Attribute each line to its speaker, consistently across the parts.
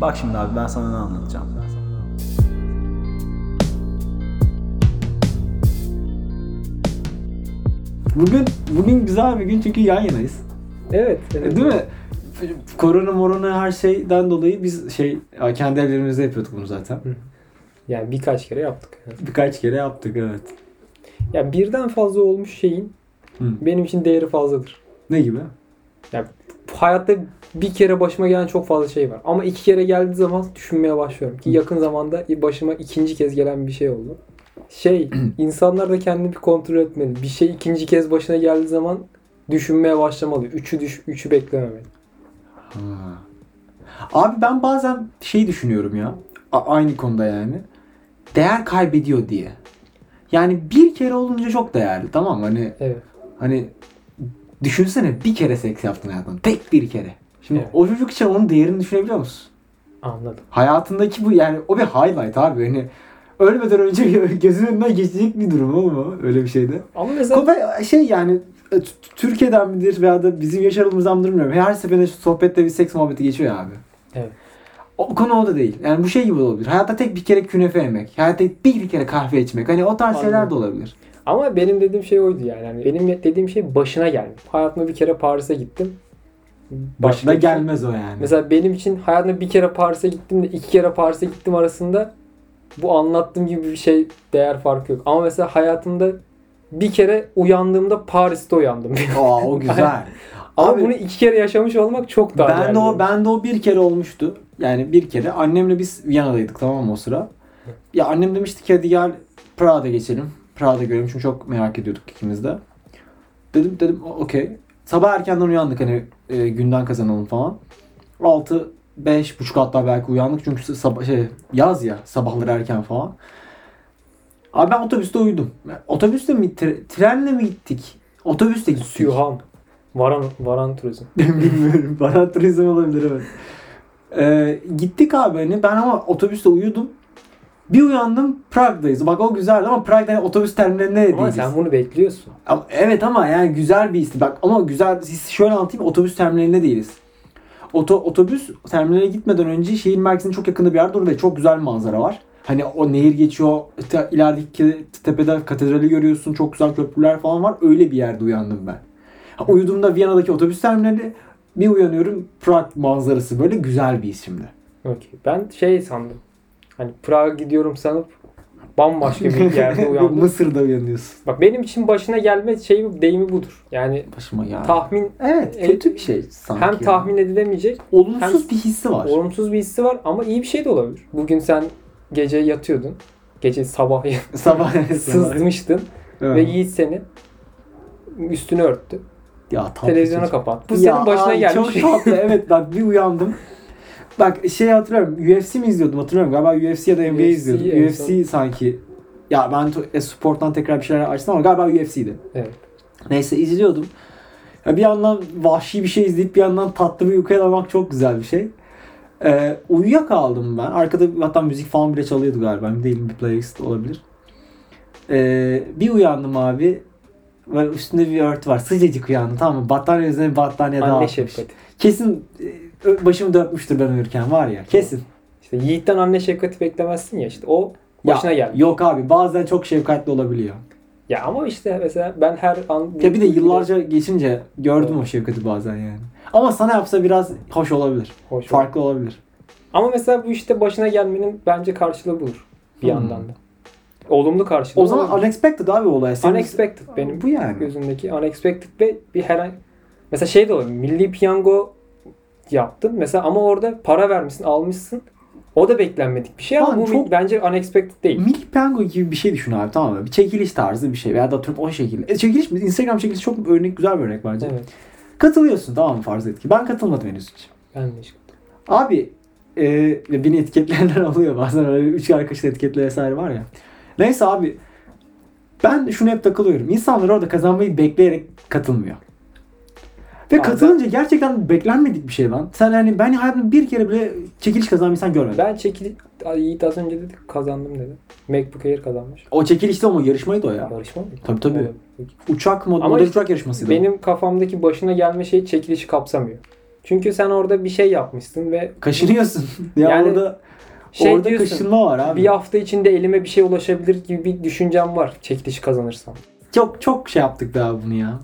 Speaker 1: Bak şimdi abi ben sana ne anlatacağım. Bugün bugün güzel bir gün çünkü yan yanayız.
Speaker 2: Evet. evet.
Speaker 1: E, Değil mi? Korona morona her şeyden dolayı biz şey kendi ellerimizle yapıyorduk bunu zaten.
Speaker 2: Yani birkaç kere yaptık.
Speaker 1: Birkaç kere yaptık evet.
Speaker 2: Yani birden fazla olmuş şeyin
Speaker 1: Hı.
Speaker 2: benim için değeri fazladır.
Speaker 1: Ne gibi?
Speaker 2: Hayatta bir kere başıma gelen çok fazla şey var. Ama iki kere geldiği zaman düşünmeye başlıyorum. Ki
Speaker 1: Hı.
Speaker 2: yakın zamanda başıma ikinci kez gelen bir şey oldu. Şey, insanlar da kendini bir kontrol etmeli. Bir şey ikinci kez başına geldiği zaman düşünmeye başlamalı. Üçü düş, üçü beklememeli.
Speaker 1: Ha. Abi ben bazen şey düşünüyorum ya. A- aynı konuda yani. Değer kaybediyor diye. Yani bir kere olunca çok değerli tamam mı? Hani
Speaker 2: Evet.
Speaker 1: hani düşünsene bir kere seks yaptın hayatında. Tek bir kere. Şimdi
Speaker 2: Evet.
Speaker 1: o çocuk için onun değerini düşünebiliyor musun?
Speaker 2: Anladım.
Speaker 1: Hayatındaki bu yani o bir highlight abi. Hani ölmeden önce gözünün önünden geçecek bir durum olma öyle bir şeyde.
Speaker 2: Ama mesela
Speaker 1: Kobe şey yani e, t- Türkiye'den midir veya da bizim yaş aralığımızdan mıdır bilmiyorum. Her seferinde şu sohbette bir seks muhabbeti geçiyor ya abi.
Speaker 2: Evet.
Speaker 1: O konu o da değil. Yani bu şey gibi de olabilir. Hayatta tek bir kere künefe yemek. Hayatta bir kere kahve içmek. Hani o tarz şeyler de
Speaker 2: Anladım.
Speaker 1: olabilir.
Speaker 2: ama benim dediğim şey oydu yani. yani benim dediğim şey başına gelmek. Hayatımda bir kere Paris'e gittim.
Speaker 1: Başına
Speaker 2: Başka-
Speaker 1: gelmez o yani.
Speaker 2: şey Mesela benim için hayatımda bir kere Paris'e gittim de iki kere Paris'e gittim arasında bu anlattığım gibi bir şey değer farkı yok. Ama mesela hayatımda bir kere uyandığımda Paris'te uyandım.
Speaker 1: Aa, o güzel.
Speaker 2: Ama
Speaker 1: Abi-
Speaker 2: bunu iki kere yaşamış olmak çok daha
Speaker 1: ben
Speaker 2: değerli.
Speaker 1: de o ben de o bir kere olmuştu. Yani bir kere annemle biz Viyana'daydık tamam mı o sıra. Ya annem demişti ki hadi gel Prag'a geçelim. Prag'da görelim çünkü çok merak ediyorduk ikimiz de. Dedim dedim "O- okey. Sabah erkenden uyandık hani e, günden kazanalım falan. 6 beş buçuk hatta belki uyandık çünkü sabah şey yaz ya sabahları erken falan. Abi ben otobüste uyudum. Ben- Otobüste mi tre- trenle mi gittik? Otobüste gittik.
Speaker 2: Süham. Varan, varan turizm.
Speaker 1: Bilmiyorum. Baran turizm olabilir evet. Ee, gittik abi hani ben ama otobüste uyudum. Bir uyandım Prag'dayız. Bak o güzeldi ama Prag'da yani otobüs terminaline de
Speaker 2: Ama
Speaker 1: değiliz.
Speaker 2: sen bunu bekliyorsun.
Speaker 1: Ama- evet ama yani güzel bir histi. Bak ama güzel his şöyle anlatayım otobüs terminaline değiliz. Oto, otobüs terminaline gitmeden önce şehir merkezinin çok yakında bir yerde orada çok güzel bir manzara var. Hani o nehir geçiyor, te- ilerideki tepede katedrali görüyorsun, çok güzel köprüler falan var. Öyle bir yerde uyandım ben. Ha, Uyuduğumda Viyana'daki otobüs terminali, bir uyanıyorum Prag manzarası böyle güzel bir his şimdi.
Speaker 2: Okey. Ben şey sandım. Hani Prag'a gidiyorum sanıp bambaşka bir yerde uyandım.
Speaker 1: Mısır'da uyanıyorsun.
Speaker 2: Bak benim için başına gelme şeyi deyimi budur. Yani
Speaker 1: Başıma ya.
Speaker 2: tahmin
Speaker 1: evet,
Speaker 2: e-
Speaker 1: kötü bir şey sanki.
Speaker 2: hem
Speaker 1: ya.
Speaker 2: tahmin edilemeyecek
Speaker 1: olumsuz bir hissi var.
Speaker 2: Olumsuz bir hissi var ama iyi bir şey de olabilir. Bugün sen gece yatıyordun. Gece sabah
Speaker 1: Sabah
Speaker 2: sızmıştın ve
Speaker 1: Evet.
Speaker 2: Yiğit seni üstünü örttü.
Speaker 1: Ya tatlı
Speaker 2: Televizyonu
Speaker 1: çocuk.
Speaker 2: kapat. Bu
Speaker 1: Ya,
Speaker 2: senin başına
Speaker 1: ay,
Speaker 2: gelmiş.
Speaker 1: Çok tatlı evet bak bir uyandım. Bak şey hatırlıyorum UFC mi izliyordum hatırlıyorum galiba UFC ya da NBA
Speaker 2: UFC
Speaker 1: izliyordum.
Speaker 2: en
Speaker 1: UFC sanki ya ben to- e, sporttan tekrar bir şeyler açtım ama galiba UFC'ydi.
Speaker 2: Evet.
Speaker 1: Neyse izliyordum. Ya bir yandan vahşi bir şey izleyip bir yandan tatlı bir uykuya dalmak çok güzel bir şey. Ee, uyuyakaldım ben. Arkada hatta müzik falan bile çalıyordu galiba. Emin değilim bir playlist olabilir. Ee, bir uyandım abi. Ve üstünde bir örtü var. Sıcacık uyandım tamam mı? Battaniye üzerine bir battaniye daha
Speaker 2: Anne
Speaker 1: atmış.
Speaker 2: şefkati.
Speaker 1: Kesin e, ö- başımı dörtmüştür ben uyurken var ya. Kesin.
Speaker 2: İşte Yiğit'ten anne şefkati beklemezsin ya işte o
Speaker 1: Ya,
Speaker 2: başına geldi.
Speaker 1: Yok abi bazen çok şefkatli olabiliyor.
Speaker 2: Ya ama işte mesela ben her an...
Speaker 1: Ya bir de yıllarca geçince gördüm
Speaker 2: Evet.
Speaker 1: o şefkati bazen yani. Ama sana yapsa biraz hoş olabilir.
Speaker 2: Hoş oldu.
Speaker 1: Farklı olabilir.
Speaker 2: Ama mesela bu işte başına gelmenin bence karşılığı budur. Bir
Speaker 1: Hmm.
Speaker 2: yandan da. Olumlu karşılığı.
Speaker 1: O zaman
Speaker 2: olabilir.
Speaker 1: unexpected abi olay. Sen
Speaker 2: Unexpected benim
Speaker 1: Bu yani.
Speaker 2: gözümdeki Unexpected ve bir herhangi mesela şey de olabilir. Milli piyango yaptın mesela ama orada para vermişsin, almışsın. O da beklenmedik bir şey ama
Speaker 1: Lan
Speaker 2: bu
Speaker 1: çok-
Speaker 2: bence unexpected değil.
Speaker 1: Milli piyango gibi bir şey düşün abi tamam mı? Bir çekiliş tarzı bir şey veya da atıyorum o şekilde. E, çekiliş mi? Instagram çekilişi çok örnek güzel bir örnek bence.
Speaker 2: Evet.
Speaker 1: Katılıyorsun tamam mı farz et ki. Ben katılmadım henüz hiç.
Speaker 2: Ben de işte.
Speaker 1: Abi e, ya beni etiketleyenler oluyor bazen öyle üç arkadaşın etiketle vesaire var ya. Neyse abi ben şunu hep takılıyorum. İnsanlar orada kazanmayı bekleyerek katılmıyor. Ve
Speaker 2: Abi
Speaker 1: katılınca gerçekten beklenmedik bir şey lan. Sen hani ben hayatımda bir kere bile çekiliş kazanan bir insan görmedim.
Speaker 2: Ben çekil Ay, Yiğit az önce dedi kazandım dedi. MacBook Air kazanmış.
Speaker 1: O çekilişte ama yarışmaydı o ya.
Speaker 2: Barışma mı?
Speaker 1: Tabii, tabii.
Speaker 2: Olabilir.
Speaker 1: Uçak mod,
Speaker 2: Ama
Speaker 1: model
Speaker 2: işte
Speaker 1: uçak yarışmasıydı. o.
Speaker 2: Benim kafamdaki başına gelme şey çekilişi kapsamıyor. Çünkü sen orada bir şey yapmışsın ve
Speaker 1: Kaşınıyorsun. ya
Speaker 2: Yani
Speaker 1: orada
Speaker 2: şey
Speaker 1: orada
Speaker 2: diyorsun.
Speaker 1: kaşınma var abi.
Speaker 2: bir hafta içinde elime bir şey ulaşabilir gibi bir düşüncem var çekilişi kazanırsam.
Speaker 1: Çok çok şey yaptık daha bunu ya.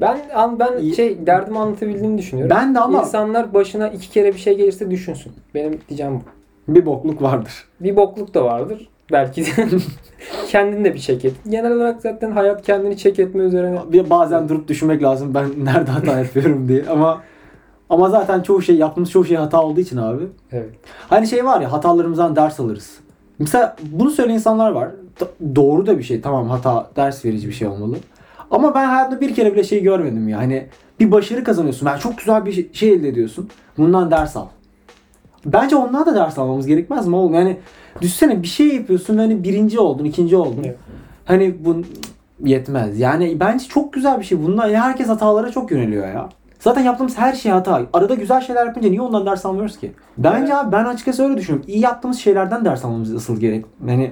Speaker 2: Ben an ben
Speaker 1: İyi.
Speaker 2: şey derdimi anlatabildiğimi düşünüyorum.
Speaker 1: Ben de ama
Speaker 2: İnsanlar başına iki kere bir şey gelirse düşünsün. Benim diyeceğim bu.
Speaker 1: bir bokluk vardır.
Speaker 2: Bir bokluk da vardır. Belki de kendin de bir çek et. Genel olarak zaten hayat kendini çek etme üzerine.
Speaker 1: Bir bazen durup düşünmek lazım ben nerede hata yapıyorum diye ama ama zaten çoğu şey yaptığımız çoğu şey hata olduğu için abi.
Speaker 2: Evet.
Speaker 1: Hani şey var ya hatalarımızdan ders alırız. Mesela bunu söyleyen insanlar var. Do- doğru da bir şey tamam hata ders verici bir şey olmalı. Ama ben hayatımda bir kere bile şey görmedim ya. Hani bir başarı kazanıyorsun. Yani çok güzel bir şey- şey elde ediyorsun. Bundan ders al. Bence ondan da ders almamız gerekmez mi oğlum? Yani düşsene bir şey yapıyorsun ve hani birinci oldun, ikinci oldun.
Speaker 2: Evet.
Speaker 1: Hani bu yetmez. Yani bence çok güzel bir şey. Bundan herkes hatalara çok yöneliyor ya. Zaten yaptığımız her şey hata. Arada güzel şeyler yapınca niye ondan ders almıyoruz ki? Bence abi ben açıkçası öyle düşünüyorum. İyi yaptığımız şeylerden ders almamız asıl gerek. Yani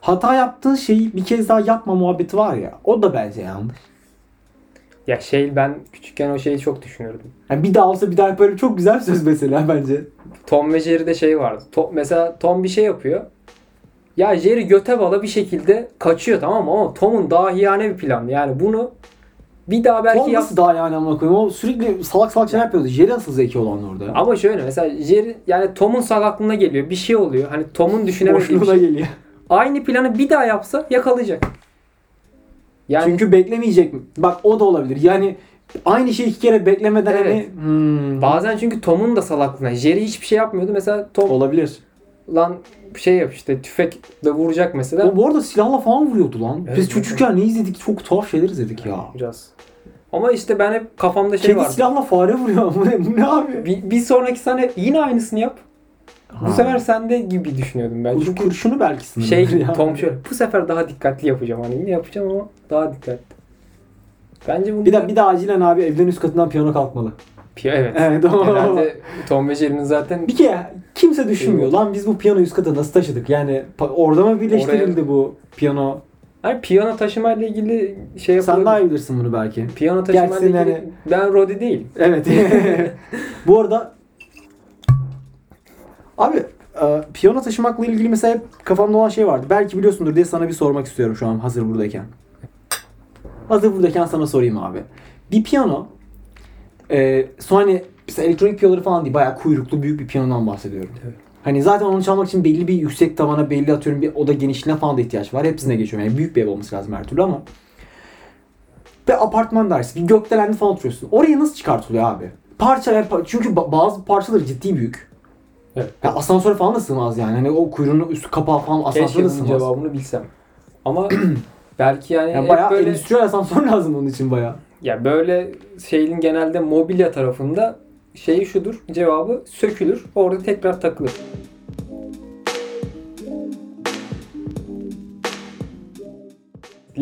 Speaker 1: hata yaptığın şeyi bir kez daha yapma muhabbeti var ya. O da bence yanlış.
Speaker 2: Ya şey ben küçükken o şeyi çok düşünürdüm.
Speaker 1: Yani bir daha olsa bir daha yaparım çok güzel bir söz mesela bence.
Speaker 2: Tom ve Jerry'de şey vardı. To- mesela Tom bir şey yapıyor. Ya Jerry göte bala bir şekilde kaçıyor tamam mı? Ama Tom'un dahiyane bir plan. Yani bunu bir daha belki
Speaker 1: Tom
Speaker 2: yap.
Speaker 1: nasıl daha yani amına koyayım? O sürekli salak salak şeyler yapıyordu. Jerry nasıl zeki olan orada ya?
Speaker 2: Ama şöyle mesela Jerry yani Tom'un salaklığına geliyor. Bir şey oluyor. Hani Tom'un düşünemediği bir
Speaker 1: Boşluğuna
Speaker 2: şey.
Speaker 1: geliyor.
Speaker 2: Aynı planı bir daha yapsa yakalayacak. Yani
Speaker 1: Çünkü beklemeyecek mi? Bak o da olabilir. Yani aynı şeyi iki kere beklemeden
Speaker 2: Evet.
Speaker 1: hani hmm,
Speaker 2: Bazen çünkü Tom'un da salaklığına. Jerry hiçbir şey yapmıyordu. Mesela Tom
Speaker 1: olabilir.
Speaker 2: lan şey yap işte tüfekle vuracak mesela.
Speaker 1: O bu arada silahla falan vuruyordu lan.
Speaker 2: Evet,
Speaker 1: Biz
Speaker 2: evet.
Speaker 1: çocukken ne izledik? Çok tuhaf şeyler izledik ya.
Speaker 2: Biraz. Ama işte ben hep kafamda şey
Speaker 1: Kedi
Speaker 2: vardı.
Speaker 1: silahla fare vuruyor. Bu ne, bu ne abi?
Speaker 2: Bir, bir sonraki sene yine aynısını yap. Bu sefer sende gibi düşünüyordum ben.
Speaker 1: Ucu
Speaker 2: Çünkü
Speaker 1: kurşunu belki sınırlı.
Speaker 2: şey
Speaker 1: ya.
Speaker 2: Tom şöyle bu sefer daha dikkatli yapacağım. Hani yine yapacağım ama daha dikkatli. Bence bunu
Speaker 1: Bir de, bir de acilen abi evden üst katından piyano kalkmalı.
Speaker 2: evet.
Speaker 1: Evet tamam.
Speaker 2: Herhalde Tom ve Jerry'nin zaten
Speaker 1: Bir kere kimse düşünmüyor. Lan biz bu piyano üst kata nasıl taşıdık? Yani pa- orada mı birleştirildi bu piyano?
Speaker 2: hani piyano taşımayla ilgili şey
Speaker 1: Sen daha iyi
Speaker 2: yapılabilir.
Speaker 1: bilirsin bunu belki.
Speaker 2: Piyano taşımayla
Speaker 1: Gerçi
Speaker 2: ilgili
Speaker 1: senin
Speaker 2: ben Rodi değilim.
Speaker 1: Evet. Bu arada abi e, piyano taşımakla ilgili mesela hep kafamda olan şey vardı. Belki biliyorsundur diye sana bir sormak istiyorum şu an hazır buradayken. Hazır buradayken sana sorayım abi. Bir piyano e, sonra hani mesela elektronik piyanoları falan değil bayağı kuyruklu büyük bir piyanodan bahsediyorum.
Speaker 2: Evet.
Speaker 1: Hani zaten onu çalmak için belli bir yüksek tavana belli atıyorum bir oda genişliğine falan da ihtiyaç var. Hepsine geçiyorum. Yani büyük bir ev olması lazım her türlü ama bir apartman dairesi, bir gökdelende falan oturuyorsun. Oraya nasıl çıkartılıyor abi? Parça ve par- çünkü ba- bazı parçaları ciddi büyük.
Speaker 2: Evet.
Speaker 1: Ya asansöre falan da sığmaz yani. Hani o kuyruğunun üstü kapağı falan
Speaker 2: Keşke
Speaker 1: asansöre de
Speaker 2: bunun
Speaker 1: sığmaz.
Speaker 2: cevabını bilsem. Ama belki yani,
Speaker 1: Yani
Speaker 2: hep
Speaker 1: bayağı
Speaker 2: böyle
Speaker 1: endüstriyel asansör lazım onun için bayağı.
Speaker 2: ya böyle şeyin genelde mobilya tarafında şeyi şudur cevabı sökülür orada tekrar takılır.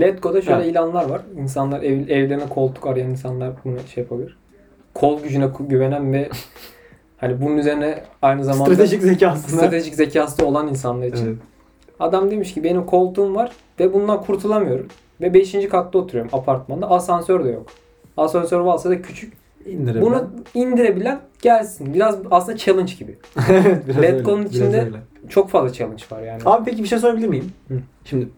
Speaker 2: Letgo'da şöyle
Speaker 1: Evet.
Speaker 2: ilanlar var. İnsanlar ev, evlerine koltuk arayan insanlar bunu şey yapabilir. Kol gücüne ku- güvenen ve hani bunun üzerine aynı zamanda
Speaker 1: Stratejik zekasına.
Speaker 2: stratejik zekası da olan insanlar için.
Speaker 1: Evet.
Speaker 2: Adam demiş ki benim koltuğum var ve bundan kurtulamıyorum. Ve 5. katta oturuyorum apartmanda. Asansör de yok. Asansör varsa da küçük.
Speaker 1: İndirebilen.
Speaker 2: Bunu indirebilen gelsin. Biraz aslında challenge gibi.
Speaker 1: evet, biraz
Speaker 2: Letgo'nun
Speaker 1: öyle, biraz
Speaker 2: içinde-
Speaker 1: öyle.
Speaker 2: Çok fazla challenge var yani.
Speaker 1: Abi peki bir şey sorabilir miyim?
Speaker 2: Hı.
Speaker 1: Şimdi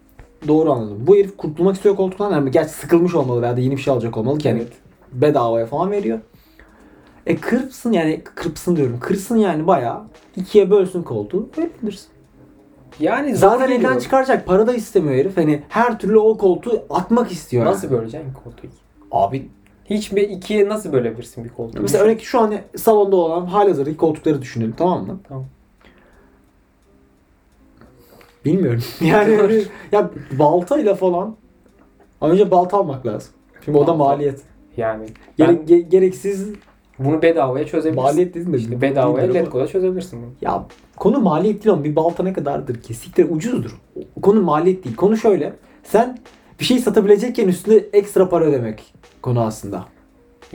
Speaker 1: doğru anladım. Bu herif kurtulmak istiyor koltuktan. Yani gerçi sıkılmış olmalı veya da yeni bir şey alacak olmalı ki. Yani
Speaker 2: Evet.
Speaker 1: bedavaya falan veriyor. E kırpsın yani kırpsın diyorum. Kırsın yani bayağı. ikiye bölsün koltuğu. Verebilirsin.
Speaker 2: Yani zor
Speaker 1: Zaten
Speaker 2: geliyor.
Speaker 1: elden çıkaracak. Para da istemiyor herif. Hani her türlü o koltuğu atmak istiyor.
Speaker 2: Nasıl
Speaker 1: yani.
Speaker 2: böleceksin koltuğu?
Speaker 1: Abi
Speaker 2: Hiç bir ikiye nasıl bölebilirsin bir koltuğu?
Speaker 1: mesela örnek şu an salonda olan halihazırdaki koltukları düşünelim tamam mı?
Speaker 2: Tamam.
Speaker 1: Bilmiyorum. Yani öyle- ya baltayla falan Ama önce balta almak lazım. Şimdi o da
Speaker 2: Balta.
Speaker 1: maliyet.
Speaker 2: Yani ben
Speaker 1: Gere- ge- gereksiz
Speaker 2: bunu bedavaya çözebilirsin.
Speaker 1: maliyet dedim de.
Speaker 2: İşte bedavaya
Speaker 1: bilmiyorum ama-
Speaker 2: Letgo'da çözebilirsin bunu.
Speaker 1: Ya konu maliyet değil ama bir balta ne kadardır ki? Siktir ucuzdur. Konu maliyet değil. Konu şöyle. Sen bir şey satabilecekken üstüne ekstra para ödemek konu aslında.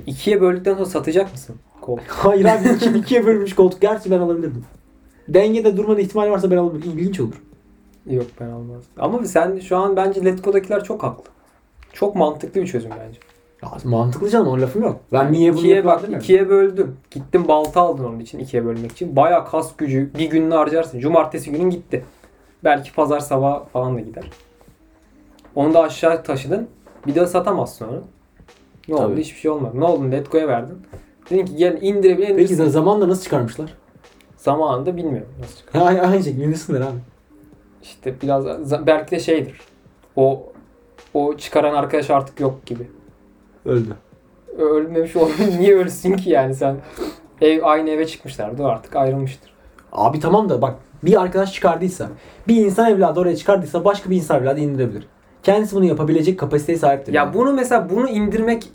Speaker 2: İkiye böldükten sonra satacak mısın koltuğu?
Speaker 1: Hayır abi iki, ikiye bölünmüş koltuk. Gerçi ben alabilirdim. Dengede durmanın ihtimali varsa ben alabilirim. İlginç olur.
Speaker 2: Yok ben almazdım. Ama sen şu an bence Letgo'dakiler çok haklı. Çok mantıklı bir çözüm bence.
Speaker 1: Ya, mantıklı canım o lafım yok. Ben niye bunu
Speaker 2: ikiye bak
Speaker 1: yapıyorum demiyorum.
Speaker 2: ikiye böldüm. Gittim balta aldın onun için ikiye bölmek için. Baya kas gücü bir gününü harcarsın. Cumartesi günün gitti. Belki pazar sabah falan da gider. Onu da aşağı taşıdın. Bir daha satamazsın onu. Ne oldu?
Speaker 1: Tabii.
Speaker 2: Hiçbir şey olmadı. Ne oldu? Letgo'ya verdin. Dedin ki gel indirebilen
Speaker 1: Peki
Speaker 2: indirsin.
Speaker 1: zamanla nasıl çıkarmışlar?
Speaker 2: Zamanında bilmiyorum nasıl çıkar.
Speaker 1: Aynı, aynı şekilde indirsinler abi.
Speaker 2: İşte biraz za- belki de şeydir. O o çıkaran arkadaş artık yok gibi.
Speaker 1: Öldü.
Speaker 2: Ölmemiş olabilir. Niye ölsün ki yani sen? Ev aynı eve çıkmışlardı artık ayrılmıştır.
Speaker 1: Abi tamam da bak bir arkadaş çıkardıysa, bir insan evladı oraya çıkardıysa başka bir insan evladı indirebilir. Kendisi bunu yapabilecek kapasiteye sahiptir.
Speaker 2: Ya
Speaker 1: yani.
Speaker 2: bunu mesela bunu indirmek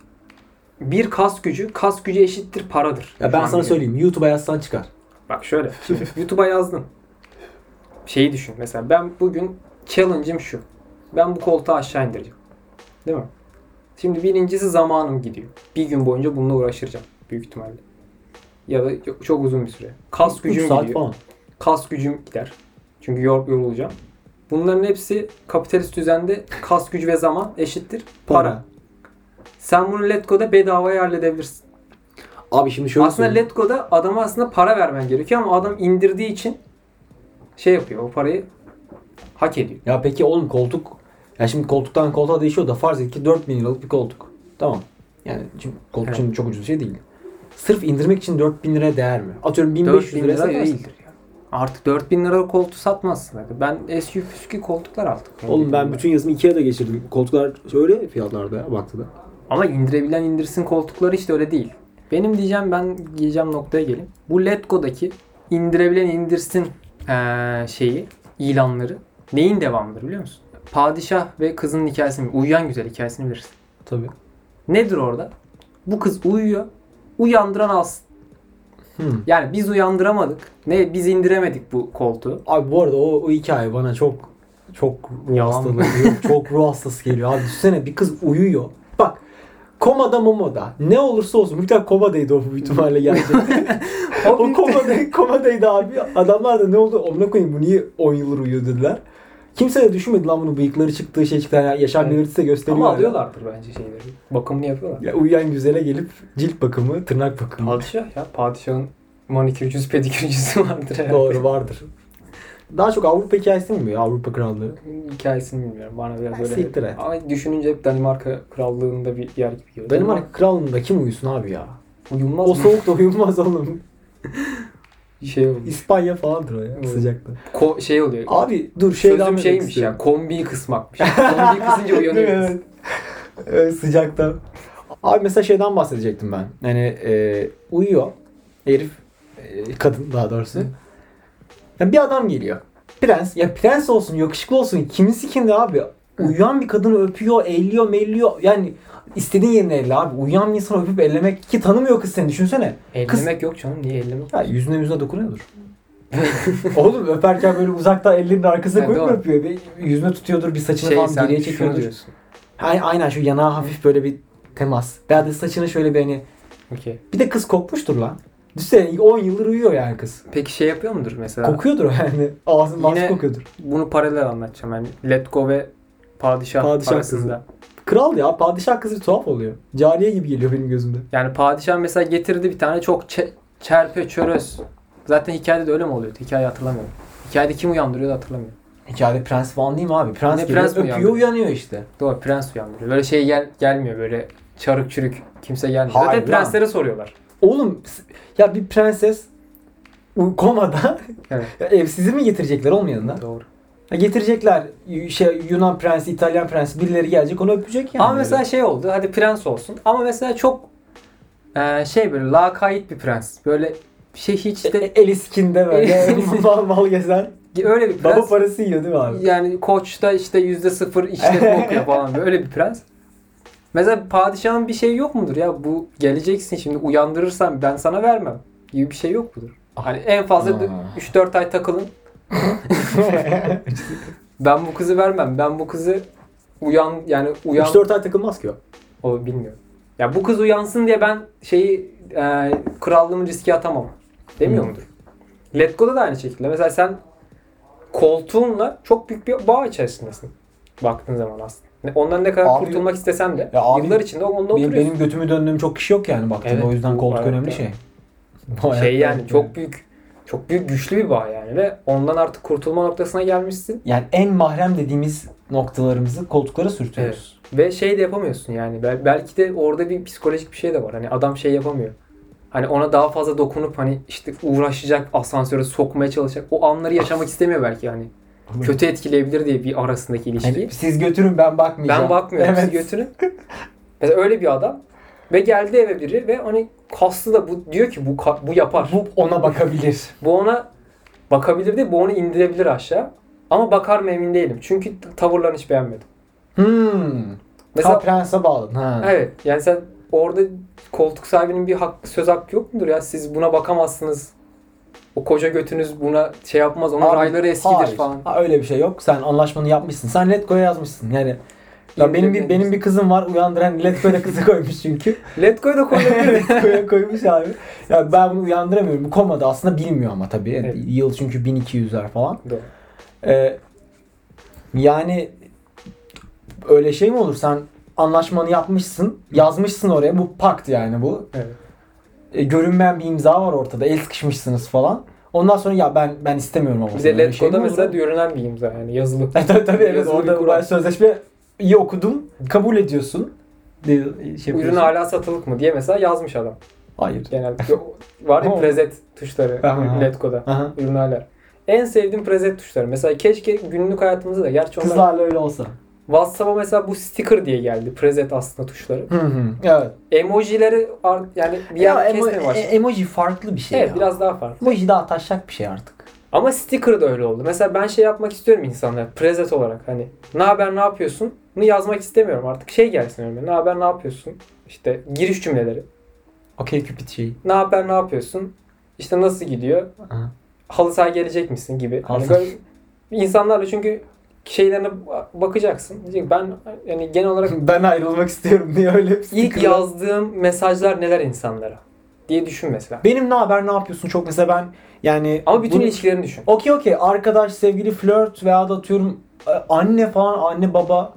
Speaker 2: bir kas gücü, kas gücü eşittir paradır.
Speaker 1: ya
Speaker 2: Şu
Speaker 1: ben
Speaker 2: an
Speaker 1: sana
Speaker 2: bile.
Speaker 1: söyleyeyim YouTube'a yazsan çıkar.
Speaker 2: Bak şöyle. şimdi YouTube'a yazdım. Şeyi düşün mesela ben bugün challenge'ım şu. Ben bu koltuğu aşağı indireceğim. Değil mi? Şimdi birincisi zamanım gidiyor. Bir gün boyunca bununla uğraşacağım büyük ihtimalle. Ya da çok- çok uzun bir süre. Kas
Speaker 1: Üç
Speaker 2: gücüm
Speaker 1: saat
Speaker 2: gidiyor.
Speaker 1: falan.
Speaker 2: kas gücüm gider. Çünkü yor- yorulacağım. Bunların hepsi kapitalist düzende kas gücü ve zaman eşittir para.
Speaker 1: Para.
Speaker 2: Sen bunu Letgo'da bedavaya halledebilirsin.
Speaker 1: Abi şimdi şöyle
Speaker 2: aslında
Speaker 1: söyleyeyim.
Speaker 2: Letgo'da adama aslında para vermen gerekiyor ama adam indirdiği için şey yapıyor o parayı hak ediyor.
Speaker 1: Ya peki oğlum koltuk ya şimdi koltuktan koltuğa değişiyor da farz et ki 4000 liralık bir koltuk. Tamam. Yani şimdi koltuk
Speaker 2: Evet.
Speaker 1: şimdi çok ucuz bir şey değil. Sırf indirmek için 4000 liraya değer mi? Atıyorum 1500
Speaker 2: 4000
Speaker 1: liraya
Speaker 2: lira
Speaker 1: satarsın.
Speaker 2: değildir. ya. Artık 4000 lira koltuğu satmazsın. hadi. Ben SUV püskü koltuklar aldım.
Speaker 1: Oğlum ben bütün yazımı Ikea'da geçirdim. Koltuklar öyle fiyatlarda ya baktıda.
Speaker 2: Ama indirebilen indirsin koltukları işte öyle değil. Benim diyeceğim ben giyeceğim noktaya geleyim. Bu Letgo'daki indirebilen indirsin eee, şeyi, ilanları neyin devamıdır biliyor musun? Padişah ve kızının hikayesini, uyuyan güzel hikayesini bilirsin.
Speaker 1: Tabii.
Speaker 2: Nedir orada? Bu kız uyuyor, uyandıran alsın.
Speaker 1: Hmm.
Speaker 2: Yani biz uyandıramadık. Ne biz indiremedik bu koltuğu.
Speaker 1: Abi bu arada o, o hikaye bana çok çok ruh
Speaker 2: Yalan
Speaker 1: hastalığı,
Speaker 2: mı?
Speaker 1: yok, çok ruh hastası geliyor. Abi düşünsene bir kız uyuyor. Bak komada momoda ne olursa olsun bir tane komadaydı o bu ihtimalle gerçekten. o komadaydı, komadaydı abi. Adamlar da ne oldu amına koyayım bu niye 10 yıldır uyuyor dediler. Kimse de düşünmedi lan bunun bıyıkları çıktığı şey çıktı. Yani yaşam
Speaker 2: Evet.
Speaker 1: belirtisi de gösteriyor.
Speaker 2: Ama
Speaker 1: ya.
Speaker 2: alıyorlardır bence şeyleri. Bakımını yapıyorlar.
Speaker 1: Ya uyuyan güzele gelip cilt bakımı, tırnak bakımı.
Speaker 2: Padişah ya. Padişahın manikürcüsü pedikürcüsü vardır herhalde.
Speaker 1: Doğru vardır. Daha çok Avrupa hikayesi mi bu ya? Avrupa krallığı?
Speaker 2: Hikayesini bilmiyorum. Bana biraz
Speaker 1: Ha,
Speaker 2: öyle.
Speaker 1: siktir et.
Speaker 2: Ama düşününce hep Danimarka krallığında bir yer gibi geliyor.
Speaker 1: Danimarka kralında kim uyusun abi ya?
Speaker 2: uyumaz
Speaker 1: O
Speaker 2: mı?
Speaker 1: soğukta uyumaz oğlum.
Speaker 2: şey oluyor.
Speaker 1: İspanya falandır o ya
Speaker 2: Evet.
Speaker 1: sıcakta.
Speaker 2: Ko- şey oluyor.
Speaker 1: Abi dur şey
Speaker 2: Sözüm şeymiş ya. Kombiyi kısmakmış. kombiyi kısınca uyanıyor. kız.
Speaker 1: evet. Evet, sıcakta. Abi mesela şeyden bahsedecektim ben. Yani e, uyuyor herif e, kadın daha doğrusu. Yani bir adam geliyor. Prens. Ya prens olsun, yakışıklı olsun. Kimisi kimde abi? Uyuyan bir kadını öpüyor, elliyor, melliyor. Yani istediğin yerine elle abi. Uyuyan bir insanı öpüp ellemek ki tanımıyor kız seni düşünsene.
Speaker 2: Ellemek yok canım. Niye ellemek?
Speaker 1: Ya yüzüne yüzüne dokunuyordur. Oğlum öperken böyle uzakta ellerinin arkasına
Speaker 2: Ha,
Speaker 1: koyup mu
Speaker 2: doğru.
Speaker 1: öpüyor? Bir yüzüne tutuyordur, bir saçını
Speaker 2: Şey
Speaker 1: falan
Speaker 2: sen
Speaker 1: geriye
Speaker 2: şunu
Speaker 1: çekiyordur.
Speaker 2: diyorsun.
Speaker 1: Ay- Aynen şu yanağa hafif böyle bir temas. Daha da saçını şöyle bir hani...
Speaker 2: Okey.
Speaker 1: Bir de kız kokmuştur lan. Düşünsene 10 yıldır uyuyor yani kız.
Speaker 2: Peki şey yapıyor mudur mesela?
Speaker 1: Kokuyordur yani. Ağzın
Speaker 2: Yine-
Speaker 1: Yine... kokuyordur.
Speaker 2: Bunu paralel anlatacağım. Yani Letgo ve Padişah,
Speaker 1: Padişah
Speaker 2: arasında.
Speaker 1: Kral ya padişah kızı tuhaf oluyor. Cariye gibi geliyor benim gözümde.
Speaker 2: Yani padişah mesela getirdi bir tane çok çe- çerpe çöröz. Zaten hikayede de öyle mi oluyordu? Hikayeyi hatırlamıyorum. Hikayede kim uyandırıyordu hatırlamıyorum.
Speaker 1: Hikayede E, prens falan değil mi abi? Prens
Speaker 2: Ne
Speaker 1: geliyor,
Speaker 2: prens mi
Speaker 1: öpüyor
Speaker 2: yani?
Speaker 1: uyanıyor işte.
Speaker 2: Doğru prens uyandırıyor. Böyle şey gel gelmiyor böyle çarık çürük kimse gelmiyor.
Speaker 1: Hayır
Speaker 2: Zaten
Speaker 1: lan.
Speaker 2: prenslere soruyorlar.
Speaker 1: Oğlum s- ya bir prenses u- komada
Speaker 2: Evet.
Speaker 1: ya evsizi mi getirecekler oğlum yanına?
Speaker 2: Doğru.
Speaker 1: Ya getirecekler y- şey Yunan prensi, İtalyan prensi birileri gelecek onu öpecek yani.
Speaker 2: ama mesela şey oldu. Hadi prens olsun. Ama mesela çok e, şey böyle lakayt bir prens. Böyle şey hiç
Speaker 1: işte
Speaker 2: de
Speaker 1: el iskinde E, böyle
Speaker 2: El-
Speaker 1: mal mal gezen.
Speaker 2: öyle bir prens.
Speaker 1: Baba parası yiyor değil mi abi?
Speaker 2: Yani koçta işte yüzde sıfır işletme okuyor falan böyle öyle bir prens. Mesela padişahın bir şey yok mudur ya bu geleceksin şimdi uyandırırsam ben sana vermem gibi bir şey yok mudur? Hani en fazla
Speaker 1: Aa.
Speaker 2: 3-4 ay takılın ben bu kızı vermem ben bu kızı uyan yani uyan
Speaker 1: 3-4 ay takılmaz ki o.
Speaker 2: o bilmiyorum. Ya bu kız uyansın diye ben şeyi e, krallığımı riske atamam. Demiyor
Speaker 1: Hmm.
Speaker 2: mudur? Letgo'da da aynı şekilde. Mesela sen koltuğunla çok büyük bir bağ içerisindesin. Baktığın zaman aslında. Ne- Ondan ne kadar
Speaker 3: Abi-
Speaker 2: kurtulmak istesen de
Speaker 1: Ya abi-
Speaker 2: yıllar içinde onunla
Speaker 1: Benim,
Speaker 2: oturuyorsun.
Speaker 1: benim götümü döndüğüm çok kişi yok yani baktığında.
Speaker 2: Evet,
Speaker 1: o yüzden
Speaker 2: bu
Speaker 1: koltuk
Speaker 2: hayatta-
Speaker 1: önemli şey. Bu hayatta-
Speaker 2: şey yani çok büyük çok büyük güçlü bir bağ yani ve ondan artık kurtulma noktasına gelmişsin
Speaker 1: Yani en mahrem dediğimiz noktalarımızı koltuklara sürtüyoruz.
Speaker 2: ve şey de yapamıyorsun yani Bel- belki de orada bir psikolojik bir şey de var hani adam şey yapamıyor hani ona daha fazla dokunup hani işte uğraşacak asansöre sokmaya çalışacak o anları yaşamak istemiyor belki yani kötü etkileyebilir diye bir arasındaki ilişkiyi
Speaker 1: Yani siz götürün ben bakmayacağım.
Speaker 2: Şey- ben bakmıyorum siz götürün mesela öyle bir adam ve geldi eve biri ve hani kaslı da bu diyor ki bu ka- bu yapar
Speaker 1: Bu ona bakabilir.
Speaker 2: Bu ona bakabilir değil, bu onu indirebilir aşağı. Ama bakar mı emin değilim. Çünkü t- tavırlarını hiç beğenmedim.
Speaker 1: Hmm.
Speaker 2: Mesela
Speaker 1: Mesela prense bağladın. Ha.
Speaker 2: evet yani sen orada koltuk sahibinin bir hakkı, söz hakkı yok mudur ya? Siz buna bakamazsınız. O koca götünüz buna şey yapmaz. Onun
Speaker 1: Abi,
Speaker 2: rayları eskidir
Speaker 1: hayır.
Speaker 2: falan.
Speaker 1: Ha, öyle bir şey yok. Sen anlaşmanı yapmışsın. Sen Letgo'ya yazmışsın. Yani ya benim bir benim bir kızım var. Uyandıran Letgo'ya da kızı koymuş çünkü.
Speaker 2: Let go'yu da koyabilir.
Speaker 1: Letgo'ya koymuş abi. Ya ben bunu uyandıramıyorum. Bu komada aslında bilmiyor ama tabii.
Speaker 2: Evet.
Speaker 1: Yıl çünkü 1200'ler falan.
Speaker 2: Doğru.
Speaker 1: Ee, yani öyle şey mi olur? Sen anlaşmanı yapmışsın. Yazmışsın oraya. Bu pakt yani bu.
Speaker 2: Evet.
Speaker 1: E, görünmeyen bir imza var ortada. El sıkışmışsınız falan. Ondan sonra ya ben ben istemiyorum ama.
Speaker 2: Bir de
Speaker 1: böyle
Speaker 2: let
Speaker 1: şey mi
Speaker 2: go'da
Speaker 1: olur?
Speaker 2: mesela görünen bir imza yani yazılı.
Speaker 1: E, tabii tabii evet
Speaker 2: Yazılı bir
Speaker 1: orada
Speaker 2: kural.
Speaker 1: ben sözleşme iyi okudum. Kabul ediyorsun. De, şey
Speaker 2: Bu ürün
Speaker 1: yapıyorsun.
Speaker 2: hala satılık mı diye mesela yazmış adam.
Speaker 1: Hayır.
Speaker 2: Genelde Yo, var ya
Speaker 1: Ama-
Speaker 2: prezet tuşları
Speaker 1: Aha.
Speaker 2: Let go'da.
Speaker 1: Aha.
Speaker 2: ürünler. En sevdiğim prezet tuşları. Mesela keşke günlük hayatımızda da gerçi onlar
Speaker 1: Kızlarla öyle olsa.
Speaker 2: WhatsApp'a mesela bu sticker diye geldi prezet aslında tuşları.
Speaker 1: Hı hı. Evet.
Speaker 2: Emojileri ar- yani bir
Speaker 1: Ya,
Speaker 2: yer
Speaker 1: emo-
Speaker 2: kesmeye başladı.
Speaker 1: e- emoji farklı bir şey.
Speaker 2: Evet
Speaker 1: ya.
Speaker 2: biraz daha farklı.
Speaker 1: Emoji daha taşak bir şey artık.
Speaker 2: Ama sticker da öyle oldu. Mesela ben şey yapmak istiyorum insanlara prezet olarak hani ne haber ne yapıyorsun? Bunu yazmak istemiyorum artık. Şey gelsin önüme. Ne haber ne yapıyorsun? İşte giriş cümleleri.
Speaker 1: Okey Cupid şey. şeyi.
Speaker 2: Ne haber ne yapıyorsun? İşte nasıl gidiyor?
Speaker 1: Aha.
Speaker 2: halı sahaya gelecek misin gibi. Hani
Speaker 1: Halı-
Speaker 2: böyle insanlarla çünkü şeylerine bakacaksın. Diyecek ki, ben yani genel olarak
Speaker 1: Ben ayrılmak istiyorum diye öyle bir
Speaker 2: ilk
Speaker 1: sticker'la-
Speaker 2: yazdığım mesajlar neler insanlara diye düşün mesela.
Speaker 1: Benim ne haber ne yapıyorsun çok mesela ben yani
Speaker 2: Ama bütün
Speaker 1: bunu-
Speaker 2: ilişkilerini düşün.
Speaker 1: Okey okey arkadaş sevgili flört veya da atıyorum e, anne falan anne baba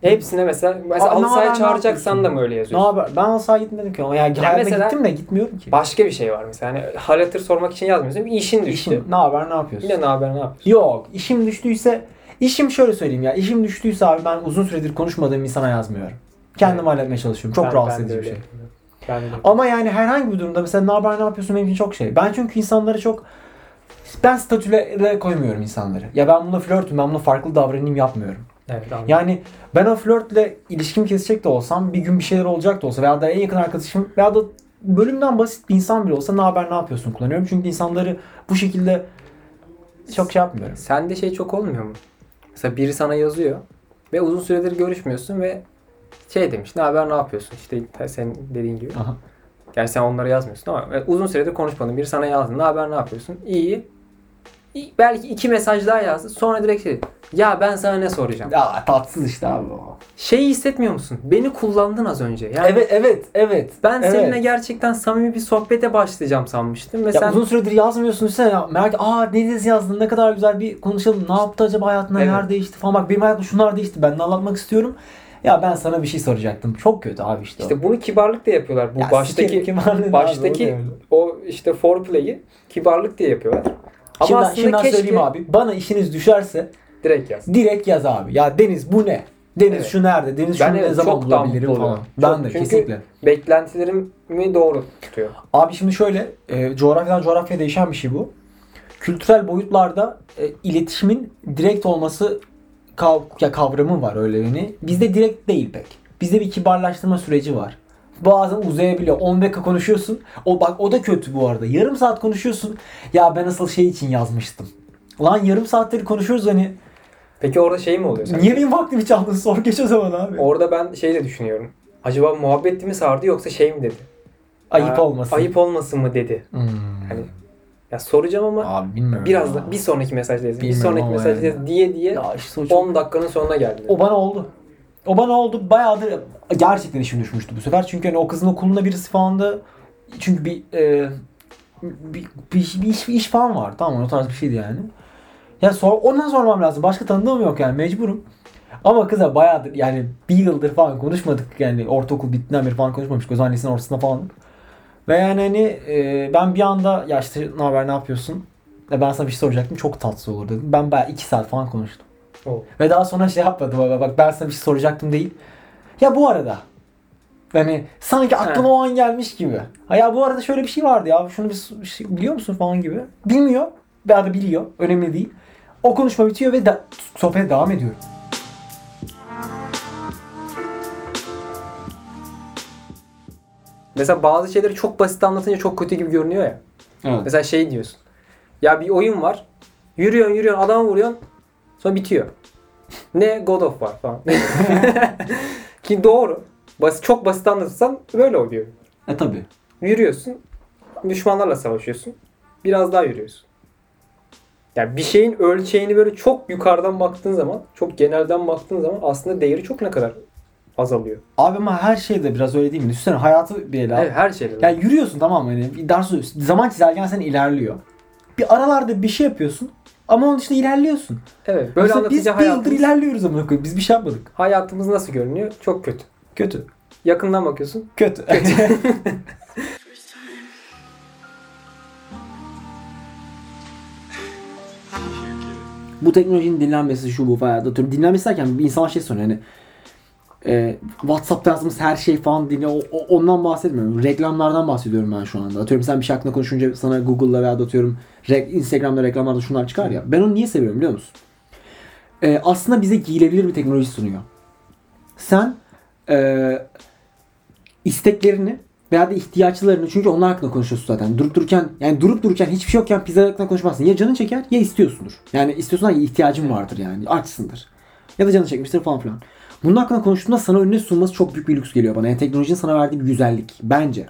Speaker 2: Hepsine mesela mesela
Speaker 1: Aa,
Speaker 2: halı
Speaker 1: ne
Speaker 2: sahaya
Speaker 1: haber, ne
Speaker 2: çağıracaksan da
Speaker 1: yapıyorsun?
Speaker 2: mı öyle
Speaker 1: ne
Speaker 2: yazıyorsun?
Speaker 1: haber ben asla gitmedim ki ama yani hayalimde
Speaker 2: mesela-
Speaker 1: gittim de gitmiyorum ki.
Speaker 2: Başka bir şey var mesela. Hani hal hatır sormak için yazmıyorsun. Bir işin düştü.
Speaker 1: İşim ne haber ne yapıyorsun?
Speaker 2: Yine ne haber ne yapıyorsun?
Speaker 1: Yok işim düştüyse işim şöyle söyleyeyim ya işim düştüyse abi ben uzun süredir konuşmadığım insana yazmıyorum. Kendim
Speaker 2: Evet.
Speaker 1: halletmeye çalışıyorum. Çok
Speaker 2: Ben-
Speaker 1: rahatsız
Speaker 2: ben de
Speaker 1: edici bir
Speaker 2: öyle
Speaker 1: şey.
Speaker 2: yapıyorum. Ben de.
Speaker 1: Ama yani herhangi bir durumda mesela ne haber ne yapıyorsun benim için çok şey. Ben çünkü insanları çok ben statülere koymuyorum insanları. Ya ben bununla flörtüm, ben bununla farklı davranayım yapmıyorum.
Speaker 2: Evet, anladım.
Speaker 1: Yani ben o flörtle ilişkim kesecek de olsam, bir gün bir şeyler olacak da olsa veya da en yakın arkadaşım veya da bölümden basit bir insan bile olsa ne haber ne yapıyorsun kullanıyorum. Çünkü insanları bu şekilde çok şey yapmıyorum.
Speaker 2: Sende şey çok olmuyor mu? Mesela biri sana yazıyor ve uzun süredir görüşmüyorsun ve şey demiş ne haber ne yapıyorsun işte sen dediğin gibi.
Speaker 1: Aha.
Speaker 2: Gerçi sen onlara yazmıyorsun ama e, uzun süredir konuşmadın biri sana yazdı ne haber ne yapıyorsun iyi. İyi. Belki iki mesaj daha yazdı sonra direkt şey ya ben sana ne soracağım.
Speaker 1: Ya tatsız işte abi o.
Speaker 2: Şeyi hissetmiyor musun? Beni kullandın az önce. Yani
Speaker 1: Evet evet evet.
Speaker 2: ben
Speaker 1: evet.
Speaker 2: seninle gerçekten samimi bir sohbete başlayacağım sanmıştım ve
Speaker 1: Ya
Speaker 2: sen
Speaker 1: uzun süredir yazmıyorsun sen ya. Merak aa Deniz yazdın ne kadar güzel bir konuşalım. Ne yaptı acaba hayatında
Speaker 2: Evet.
Speaker 1: neler değişti falan. Bak benim hayatımda şunlar değişti. Ben de anlatmak istiyorum. Ya ben sana bir şey soracaktım. Çok kötü abi işte. o.
Speaker 2: işte bunu kibarlık da yapıyorlar bu
Speaker 1: Ya
Speaker 2: baştaki
Speaker 1: sikerim kibarlığını abi,
Speaker 2: baştaki-
Speaker 1: o ne öyle?
Speaker 2: o işte foreplay'i kibarlık diye yapıyorlar. Ama
Speaker 1: Şimdi,
Speaker 2: aslında
Speaker 1: şimdiden
Speaker 2: keşke
Speaker 1: söyleyeyim abi. Bana işiniz düşerse
Speaker 2: direkt yaz.
Speaker 1: direkt yaz abi. Ya Deniz bu ne? Deniz
Speaker 2: Evet.
Speaker 1: şu nerede? Deniz
Speaker 2: Ben
Speaker 1: şunu ne
Speaker 2: evet,
Speaker 1: zaman
Speaker 2: çok daha
Speaker 1: bulabilirim
Speaker 2: mutlu
Speaker 1: falan.
Speaker 2: oluyorum.
Speaker 1: Ben
Speaker 2: Çok-
Speaker 1: de
Speaker 2: çünkü-
Speaker 1: kesinlikle.
Speaker 2: Beklentilerimi doğru tutuyor.
Speaker 1: Abi şimdi şöyle e, coğrafyadan coğrafyaya değişen bir şey bu. Kültürel boyutlarda e, iletişimin direkt olması kav- ya kavramı var öyle yani. Bizde direkt değil pek. Bizde bir kibarlaştırma süreci var. Bazen uzayabiliyor. 10 dakika konuşuyorsun. O bak o da kötü bu arada. Yarım saat konuşuyorsun. Ya ben asıl şey için yazmıştım. Ulan yarım saattir konuşuyoruz hani.
Speaker 2: Peki orada şey mi oluyor? sence?
Speaker 1: Niye benim vaktimi çaldın? Sor geç o zaman abi.
Speaker 2: Orada ben şey de düşünüyorum. Acaba muhabbet mi sardı yoksa şey mi dedi?
Speaker 1: ayıp
Speaker 2: Ha,
Speaker 1: olmasın.
Speaker 2: Ayıp olmasın mı dedi.
Speaker 1: Hmm.
Speaker 2: Hani ya soracağım ama
Speaker 1: Abi bilmiyorum.
Speaker 2: biraz
Speaker 1: ya.
Speaker 2: da bir sonraki mesajda yazayım. Bir
Speaker 1: Bilmiyorum
Speaker 2: sonraki
Speaker 1: ama
Speaker 2: mesajda
Speaker 1: yani.
Speaker 2: yazayım diye diye
Speaker 1: Ya işte o çok-
Speaker 2: 10 dakikanın sonuna geldi.
Speaker 1: O bana oldu. O bana oldu. Bayağıdır gerçekten işim düşmüştü bu sefer. Çünkü hani o kızın okulunda birisi falan da çünkü bir e, bir, bir, bir iş, bir iş falan var. Tamam mı? o tarz bir şeydi yani. Ya sor, ondan sormam lazım. Başka tanıdığım yok yani. Mecburum. Ama kıza bayağıdır yani bir yıldır falan konuşmadık. Yani ortaokul bittiğinden beri falan konuşmamıştık. O zaman lisenin ortasında falan. Ve yani hani e, ben bir anda ya işte ne haber ne yapıyorsun? Ya ben sana bir şey soracaktım çok tatsız olur dedim. Ben bayağı iki saat falan konuştum.
Speaker 2: O.
Speaker 1: Ve daha sonra şey yapmadı baba bak ben sana bir şey soracaktım değil. Ya bu arada yani sanki aklıma o an gelmiş gibi. Ha ya bu arada şöyle bir şey vardı ya şunu bir, s- bir şey biliyor musun falan gibi. Bilmiyor ya da biliyor önemli değil. O konuşma bitiyor ve da, sohbete devam ediyorum.
Speaker 2: Mesela bazı şeyleri çok basit anlatınca çok kötü gibi görünüyor ya.
Speaker 1: Evet.
Speaker 2: Mesela şey diyorsun. Ya bir oyun var. Yürüyorsun yürüyorsun adam vuruyorsun. Sonra bitiyor. Ne God of War falan. Ki doğru. Basit, çok basit anlatırsan böyle oluyor.
Speaker 1: E tabi.
Speaker 2: Yürüyorsun. Düşmanlarla savaşıyorsun. Biraz daha yürüyorsun. Yani bir şeyin ölçeğini böyle çok yukarıdan baktığın zaman, çok genelden baktığın zaman aslında değeri çok ne kadar azalıyor.
Speaker 1: Abi ama her şeyde biraz öyle değil mi? Düşünsene hayatı bir ele al.
Speaker 2: Evet, her şeyde.
Speaker 1: Yani yürüyorsun tamam mı? Hani bir ders zaman çizerken sen ilerliyor. Bir aralarda bir şey yapıyorsun ama onun dışında ilerliyorsun.
Speaker 2: evet, böyle
Speaker 1: Mesela biz
Speaker 2: anlatınca
Speaker 1: bir yıldır
Speaker 2: hayatımız,
Speaker 1: ilerliyoruz ama biz bir şey yapmadık.
Speaker 2: hayatımız nasıl görünüyor? Çok kötü.
Speaker 1: Kötü.
Speaker 2: Yakından bakıyorsun.
Speaker 1: Kötü.
Speaker 3: first time.
Speaker 1: bu teknolojinin dinlenmesi şu bu falan. Atıyorum dinlenmesi derken bir insana şey soruyor hani e, WhatsApp'ta yazdığımız her şey falan dinle o- o- ondan bahsetmiyorum. Reklamlardan bahsediyorum ben şu anda. Atıyorum sen bir şey hakkında konuşunca sana Google'la veya da atıyorum re- Instagram'da reklamlarda şunlar çıkar ya. Ben onu niye seviyorum biliyor musun? E, aslında bize giyilebilir bir teknoloji sunuyor. Sen e, isteklerini veya da ihtiyaçlarını çünkü onlar hakkında konuşuyorsun zaten. Durup dururken yani durup dururken hiçbir şey yokken pizza hakkında konuşmazsın. Ya canın çeker ya istiyorsundur. Yani istiyorsan ya ihtiyacın vardır yani açsındır. Ya da canın çekmiştir falan filan. Bunun hakkında konuştuğunda sana önüne sunması çok büyük bir lüks geliyor bana. Yani teknolojinin sana verdiği bir güzellik bence.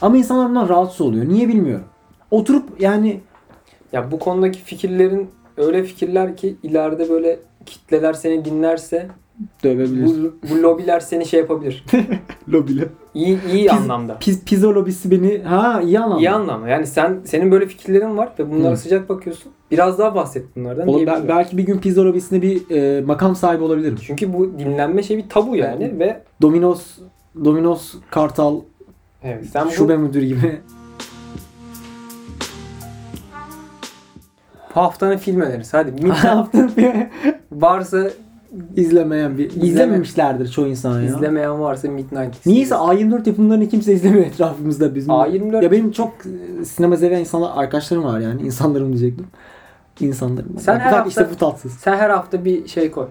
Speaker 1: Ama insanlar bundan rahatsız oluyor. Niye bilmiyorum. Oturup yani
Speaker 2: Ya bu konudaki fikirlerin öyle fikirler ki ileride böyle kitleler seni dinlerse
Speaker 1: dövebilir.
Speaker 2: bu, bu lobiler seni şey yapabilir.
Speaker 1: Lobile.
Speaker 2: İyi, iyi anlamda.
Speaker 1: Piz, pizza lobisi beni ha iyi anlamda.
Speaker 2: İyi anlamda. Yani sen senin böyle fikirlerin var ve bunlara
Speaker 1: Hı.
Speaker 2: sıcak bakıyorsun. Biraz daha bahset bunlardan.
Speaker 1: Oğlum ben,
Speaker 2: diyebilirim.
Speaker 1: belki bir gün pizza lobisinde bir e, makam sahibi olabilirim.
Speaker 2: Çünkü bu dinlenme şey bir tabu yani
Speaker 1: Yani-
Speaker 2: ve
Speaker 1: Dominos Dominos Kartal
Speaker 2: evet, sen bu
Speaker 1: şube müdürü gibi.
Speaker 2: haftanın film önerisi. Hadi
Speaker 1: Ne
Speaker 2: midden
Speaker 1: yaptın?
Speaker 2: varsa
Speaker 1: İzlemeyen bir
Speaker 2: İzleme.
Speaker 1: izlememişlerdir çoğu insan ya.
Speaker 2: izlemeyen varsa Midnight.
Speaker 1: Niyeyse A24 yapımlarını kimse izlemiyor etrafımızda bizim.
Speaker 2: A24
Speaker 1: Ya benim çok e, sinema seven insanlar arkadaşlarım var yani. İnsanlarım diyecektim. İnsanlarım.
Speaker 2: Sen
Speaker 1: Bak,
Speaker 2: her
Speaker 1: bak
Speaker 2: hafta-
Speaker 1: işte bu tatsız
Speaker 2: sen her hafta bir şey koy.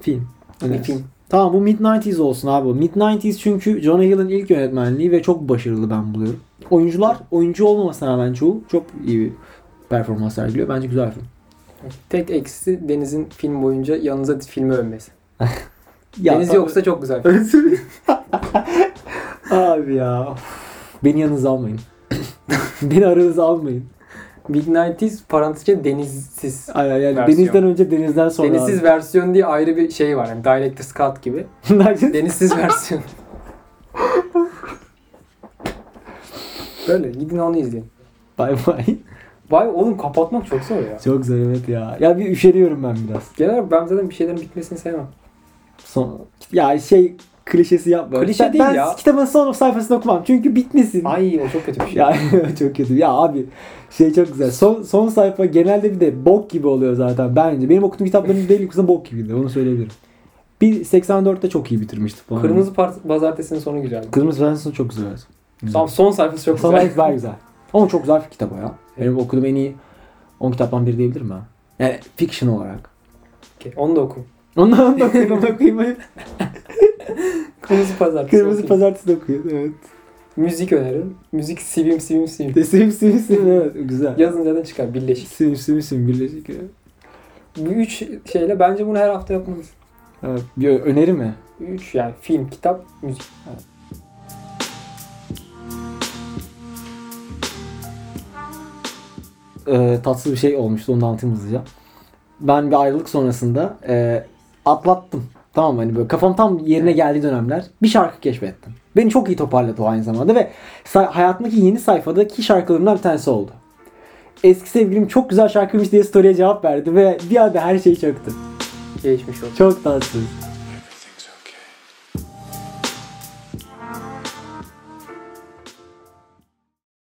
Speaker 1: film.
Speaker 2: Bir
Speaker 1: önerisi.
Speaker 2: film.
Speaker 1: Tamam bu Mid-90s olsun abi. Mid-90s çünkü Jonah Hill'in ilk yönetmenliği ve çok başarılı ben buluyorum. Oyuncular oyuncu olmamasına rağmen çoğu çok iyi bir performans sergiliyor. Bence güzel film.
Speaker 2: Tek eksisi Deniz'in film boyunca yanınıza filmi övmesi.
Speaker 1: Ya
Speaker 2: Deniz
Speaker 1: tabii-
Speaker 2: yoksa çok güzel.
Speaker 1: Özür Abi ya. Beni yanınıza almayın. Beni aranıza almayın.
Speaker 2: Midnighties parantez içinde denizsiz.
Speaker 1: Ay, ay, yani
Speaker 2: Versiyon.
Speaker 1: denizden önce denizden sonra.
Speaker 2: Denizsiz versiyon diye ayrı bir şey var. Yani Director's Cut gibi.
Speaker 1: abi.
Speaker 2: Denizsiz versiyon. Böyle gidin onu izleyin.
Speaker 1: Bay bay.
Speaker 2: Vay oğlum kapatmak çok zor ya.
Speaker 1: Çok zor evet ya. Ya bir üşeniyorum ben biraz.
Speaker 2: Genel olarak ben zaten bir şeylerin bitmesini sevmem.
Speaker 1: Son, ya şey klişesi yapma.
Speaker 2: Klişe
Speaker 1: ben,
Speaker 2: değil
Speaker 1: ben
Speaker 2: ya.
Speaker 1: kitabın son sayfasını okumam. Çünkü bitmesin.
Speaker 2: Ay o çok kötü bir şey.
Speaker 1: Ya çok kötü. Ya abi şey çok güzel. Son son sayfa genelde bir de bok gibi oluyor zaten bence. Benim okuduğum kitapların belli kısmı bok gibiydi. Onu söyleyebilirim. Bir 84'te çok iyi bitirmiştik falan.
Speaker 2: Kırmızı Par- Pazartesi'nin sonu güzeldi.
Speaker 1: Kırmızı Prenses çok güzel. evet.
Speaker 2: Tam son sayfası çok
Speaker 1: Sana
Speaker 2: güzel.
Speaker 1: güzel güzel. Ama çok güzel bir kitap o ya. Benim okuduğum en iyi 10 kitaptan biri diyebilirim ben. Yani fiction olarak.
Speaker 2: Okey, Onu da okuyun.
Speaker 1: Ondan da okuyayım, onu okuyayım.
Speaker 2: Kırmızı Pazartesi.
Speaker 1: Kırmızı
Speaker 2: okuyun.
Speaker 1: Pazartesi de okuyun. Evet.
Speaker 2: Müzik öneririm. Müzik sivim sivim sivim.
Speaker 1: De, sim sim sim evet güzel.
Speaker 2: Yazın zaten çıkar birleşik.
Speaker 1: Sim sim sim birleşik. evet.
Speaker 2: Bu üç şeyle bence bunu her hafta yapmalıyız.
Speaker 1: Evet. Bir ö- öneri mi?
Speaker 2: Üç yani film, kitap, müzik.
Speaker 1: e, tatsız bir şey olmuştu. Onu da anlatayım hızlıca. Ben bir ayrılık sonrasında e, atlattım. Tamam mı? hani böyle kafam tam yerine geldiği dönemler bir şarkı keşfettim. Beni çok iyi toparladı o aynı zamanda ve sa- hayatımdaki yeni sayfadaki şarkılarımdan bir tanesi oldu. Eski sevgilim çok güzel şarkıymış diye story'e cevap verdi ve bir anda her şey çöktü.
Speaker 2: Geçmiş olsun.
Speaker 1: Çok tatsız.